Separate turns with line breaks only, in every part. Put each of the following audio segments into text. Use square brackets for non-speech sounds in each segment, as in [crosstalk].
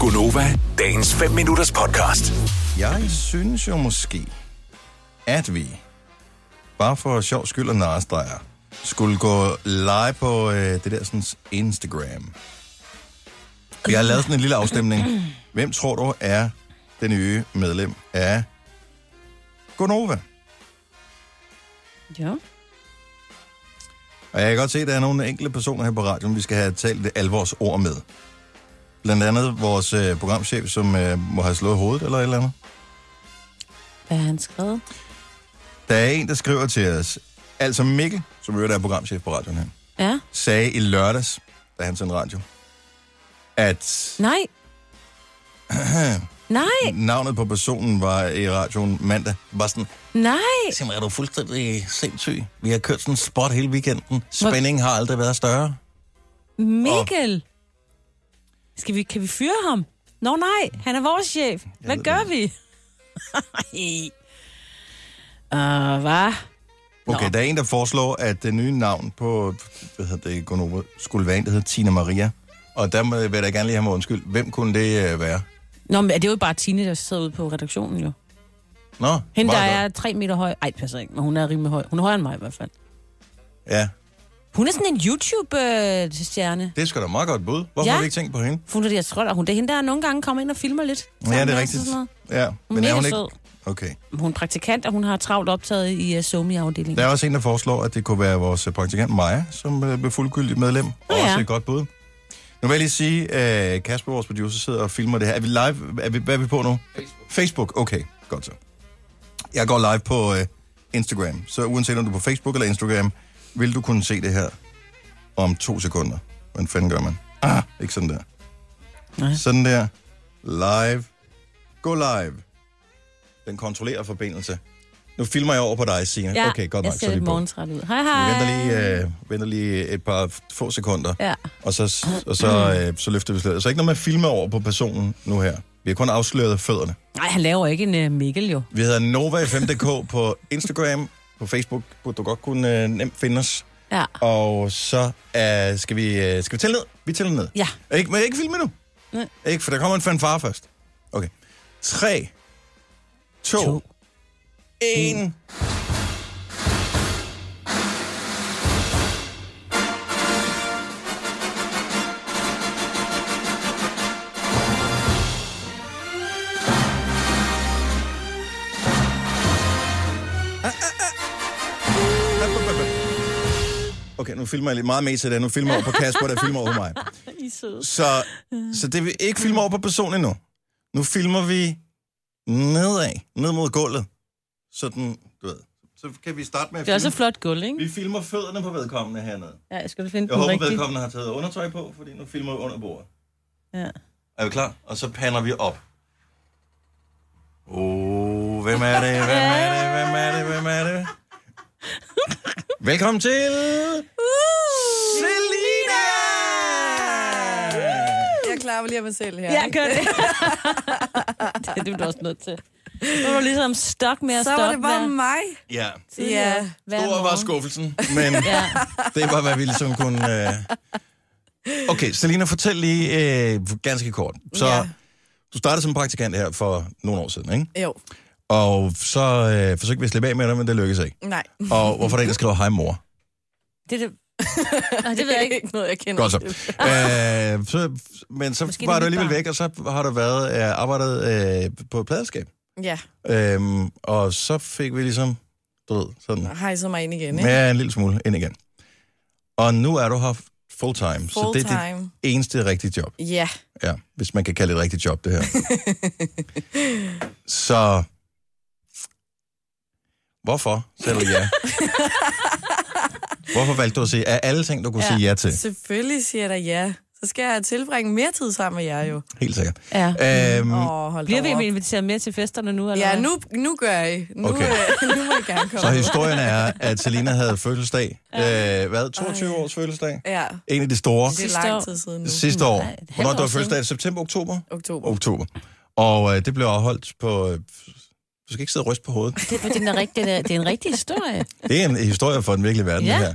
Gunova, dagens 5 minutters podcast.
Jeg synes jo måske, at vi, bare for sjov skyld og narestreger, skulle gå live på øh, det der sådan, Instagram. Og Jeg har lavet sådan en lille afstemning. Hvem tror du er den nye medlem af Gonova?
Ja.
Og jeg kan godt se, at der er nogle enkelte personer her på radioen, vi skal have talt det alvorsord med. Blandt andet vores øh, programchef, som øh, må have slået hovedet eller et eller andet.
Hvad har han skrevet?
Der er en, der skriver til os. Altså Mikkel, som i øvrigt er programchef på radioen her,
Ja.
sagde i lørdags, da han sendte radio, at [clears throat]
Nej. nej,
navnet på personen var i radioen mandag. Var sådan,
nej.
simpelthen er du fuldstændig sindssyg. Vi har kørt sådan en spot hele weekenden. Spændingen har aldrig været større.
Mikkel. Skal vi, kan vi fyre ham? Nå nej, han er vores chef. Hvad
ved
gør
det
vi? [laughs] Ej. Uh, hvad?
Okay,
Nå.
der er en, der foreslår, at det nye navn på, hvad hedder det, Gonova, skulle være en, der hedder Tina Maria. Og der må- vil jeg da gerne lige have mig undskyld. Hvem kunne det øh, være?
Nå, men det er jo bare Tine, der sidder ude på redaktionen jo.
Nå,
Hende, der
meget
er tre meter høj. Ej, det passer ikke, men hun er rimelig høj. Hun er højere end mig i hvert fald.
godt. Ja,
Hun er sådan en YouTube-stjerne.
det er sgu da meget godt bud. Hvorfor
Ja.
har vi ikke tænkt på hende?
Hun er, jeg tror, at hun det er hende, der nogle gange kommer ind og filmer lidt.
Ja,
Sammen
det
med
er
os og
rigtigt.
sådan noget.
Ja,
Hun er
men er
mega
hun
sød.
ikke... Okay.
Hun er praktikant, og hun har travlt optaget i uh, Somi-afdelingen.
Der er også en, der foreslår, at det kunne være vores øh, praktikant Maja, som øh, blev fuldgyldigt medlem. Ja.
ja.
Også et godt bud. Nu vil jeg lige sige, at Kasper, vores producer, sidder og filmer det her. Er vi live? Er vi, hvad er vi på nu? Facebook. Facebook, okay. Godt så. Jeg går live på øh, Instagram, så uanset om du er på Facebook eller Instagram, vil du kunne se det her om to sekunder. Hvordan fanden gør man? Ah, ikke sådan der.
Nej.
Sådan der. Live. Gå live. Den kontrollerer forbindelse. Nu filmer jeg over på dig, Signe.
Ja,
okay, godt
jeg
nok.
ser
er
lidt
vi på.
morgentræt ud. Hej,
Vi
hej.
venter lige, øh, venter lige et par få sekunder,
Ja.
og så, og så, øh, så løfter vi sløret. Så ikke noget med at filme over på personen nu her. Vi har kun afsløret fødderne.
Nej, han laver ikke en uh, Mikkel jo.
Vi hedder Nova5.dk [laughs] på Instagram, på Facebook, burde du godt kunne øh, nemt finde os.
Ja.
Og så øh, skal vi, øh, skal vi tælle ned. Vi tæller ned.
Ja.
Ikke, men ikke filme nu.
Nej.
Ikke, for der kommer en fanfare først. Okay. 3, 2,
To.
1. ah, Okay, nu filmer jeg lidt meget mere til det. Nu filmer jeg over på Kasper, der filmer over mig.
I er søde.
Så, så det vi ikke filmer over på personen nu. Nu filmer vi nedad, ned mod gulvet. Sådan, du ved. Så kan vi starte med at
Det er også et
filme.
flot gulv, ikke?
Vi filmer fødderne på vedkommende hernede.
Ja, jeg skal finde
Jeg
den
håber,
rigtige.
vedkommende har taget undertøj på, fordi nu filmer vi under bordet.
Ja.
Er vi klar? Og så pander vi op. Oh, hvem er det? Hvem er det? Hvem er det? Hvem er det? Velkommen til...
Uh!
Selina!
Jeg klapper lige af mig selv her.
Ja, gør det. [laughs] det er du da også nødt til. Nu var du ligesom stok med at
så
stoppe.
var det bare mig.
Ja,
Ja.
stor var
[laughs]
skuffelsen, men
Ja.
det var, hvad vi ligesom kunne... Øh... Okay, Selina, fortæl lige øh, ganske kort. Så
Ja.
du startede som praktikant her for nogle år siden, ikke?
Jo,
Og så øh, forsøgte vi at slippe af med dig, men det lykkedes ikke.
nej.
Og hvorfor er der en, der skriver, hej mor?
Det, er det... [laughs] Nej, det ved jeg ikke.
ikke noget, jeg kender.
Godt
[laughs]
så. Øh, så men så
Måske
Måske
det
var
er
du
mit
alligevel
barn.
væk, og så har du været øh, arbejdet øh, på et pladerskab.
Ja,
Øhm, og så fik vi ligesom, du ved, sådan,
hejser mig ind igen, ikke?
ja, en lille smule ind igen. Og nu er du her full-time, full så det er dit
Full-time.
eneste rigtige job.
Ja,
Ja, hvis man kan kalde det et rigtigt job, det her. så hvorfor sagde du ja? Hvorfor valgte du at sige, af alle ting, du kunne ja.
Ja.
sige ja til?
selvfølgelig siger jeg da ja. Så skal jeg tilbringe mere tid sammen med jer jo.
Helt sikkert.
Ja.
Øhm,
Åh, oh, hold da
Bliver
op.
vi inviteret med til festerne nu? Eller
Ja,
hvad?
nu, nu gør I. Nu,
Okay.
okay. [laughs] nu må I gerne komme.
Så historien er, at Selina havde fødselsdag. Øh, hvad? 22 års fødselsdag?
Ja,
En af de store.
det er
Sidste år.
lang tid siden nu.
Sidste år.
Nej, et halvt
Hvornår
år
du var
siden.
fødselsdag? September, oktober?
Oktober.
Oktober. Og øh, det blev afholdt på... øh, Du skal ikke sidde og ryste på hovedet.
Det, det, er den rigtige, det er en rigtig historie.
Det er en historie for den virkelige verden, ja.
Ja.
det her.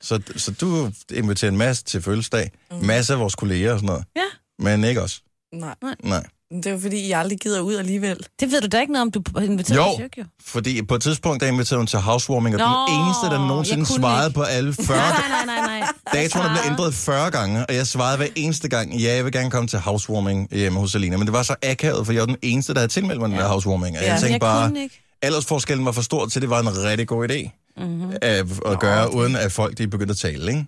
Så, så du inviterer en masse til fødselsdag, mm. masse af vores kolleger og sådan noget,
Ja.
men ikke os.
Nej,
Nej.
det er jo fordi, jeg aldrig gider ud alligevel.
Det ved du da ikke noget om, du er inviteret
Jo,
til Tyrk, jo.
fordi på et tidspunkt, der inviterede hun til housewarming, og Nå,
Nå,
den eneste, der
jeg
nogensinde
kunne
svarede
ikke.
på alle 40
Nej, nej, nej, nej.
Datoerne blev ændret 40 gange, og jeg svarede hver eneste gang, ja, jeg vil gerne komme til housewarming hjemme hos Alina. Men det var så akavet, for jeg var den eneste, der havde tilmeldt mig den der housewarming. Og ja, jeg
Ja, men
tænkte
jeg
bare,
kunne ikke.
aldersforskellen var for stor til, at det var en rigtig god idé mm-hmm. at, at gøre, uden at folk de begyndte at tale, ikke?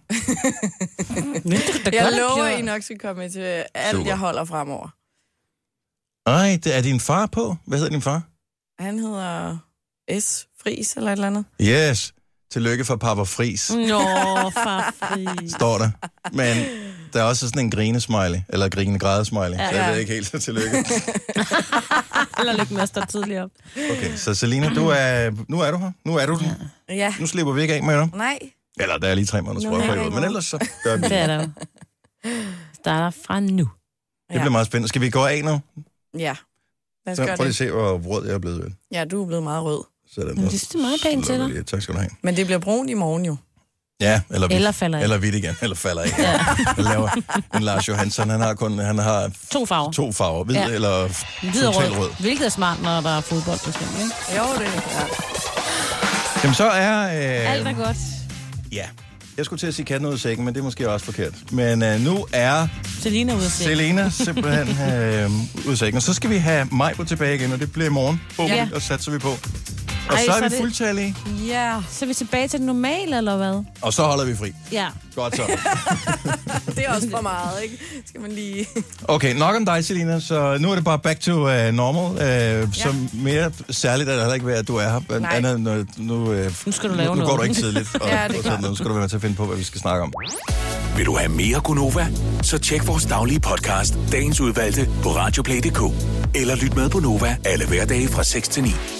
Jeg lover, I nok skal komme til alt,
Super.
jeg holder fremover.
Ej, det er din far på. Hvad hedder din far?
Han hedder S. Fris eller et eller andet.
Yes. Tillykke for Papa Fris, mm.
Nå, farfri.
står der. Men der er også sådan en grinesmiley, eller grinegrædesmiley, ja, ja. så jeg
Ja.
ved ikke helt, så
[laughs]
tillykke.
Eller lykke med at stå tidligere op.
Okay, så Selina, du er, nu er du her. Nu er du den.
Ja.
Nu slipper vi ikke af med dig.
Nej.
Eller der er lige tre måneder
Nu er der
sprøjteperiode,
ikke
men
noget.
ellers så gør
[laughs]
vi
Det er
det.
der jo. Starter fra nu.
Det bliver meget spændende. Skal vi gå af nu?
Ja. Lad os
Så
gøre
prøv lige at
det.
se, hvor vråd jeg er blevet. ved.
Ja, du er blevet meget rød.
Sådan
Men
der.
det synes jeg er meget pænt til
Slukker
dig.
vi lige. Tak skal du have.
Men det bliver brun i morgen jo.
Ja, eller vidt.
Eller falder af.
Eller vidt igen, eller falder ikke. Ja. laver en Lars Johansson, han har kun han har
To farver.
to farver, hvid ja.
Ja.
eller
Hvid og
total
rød. Hvilket er smart, når der er fodbold, bestemt, ikke?
Jo, det er klart.
Jamen så er... Øh,
Alt er godt.
Ja. Jeg skulle til at sige katten ud af sækken, men det er måske også forkert. Men øh, nu er
Selina er ude at se.
Selena simpelthen
[laughs]
øh, ud af sækken. Og så skal vi have mig på tilbage igen, og det bliver i morgen. Boom, ja.
Ja.
og satser vi på. Og
Ej,
så
så
er
er
vi
det-
fuldtallige,
Ja.
Så er vi tilbage til det normale, eller hvad?
og så holder vi fri.
Ja.
Godt så.
Det er også for meget, ikke? Skal man lige...
Okay, nok om dig, Selina. Så nu er det bare back to uh, normal. Uh, ja. Så mere særligt er det heller ikke ved, at du er her.
Nej.
Andet, når, nu, uh,
Nu skal
nu,
du lave
nu går
noget.
du ikke tidligt.
[laughs]
Og,
Ja, det er
og sådan
klart.
noget. Nu skal du være med til at finde på, hvad vi skal snakke om.
Vil du have mere Gunova? Så tjek vores daglige podcast, dagens udvalgte, på radioplay.dk. Eller lyt med på Nova alle hverdage fra 6 til 9.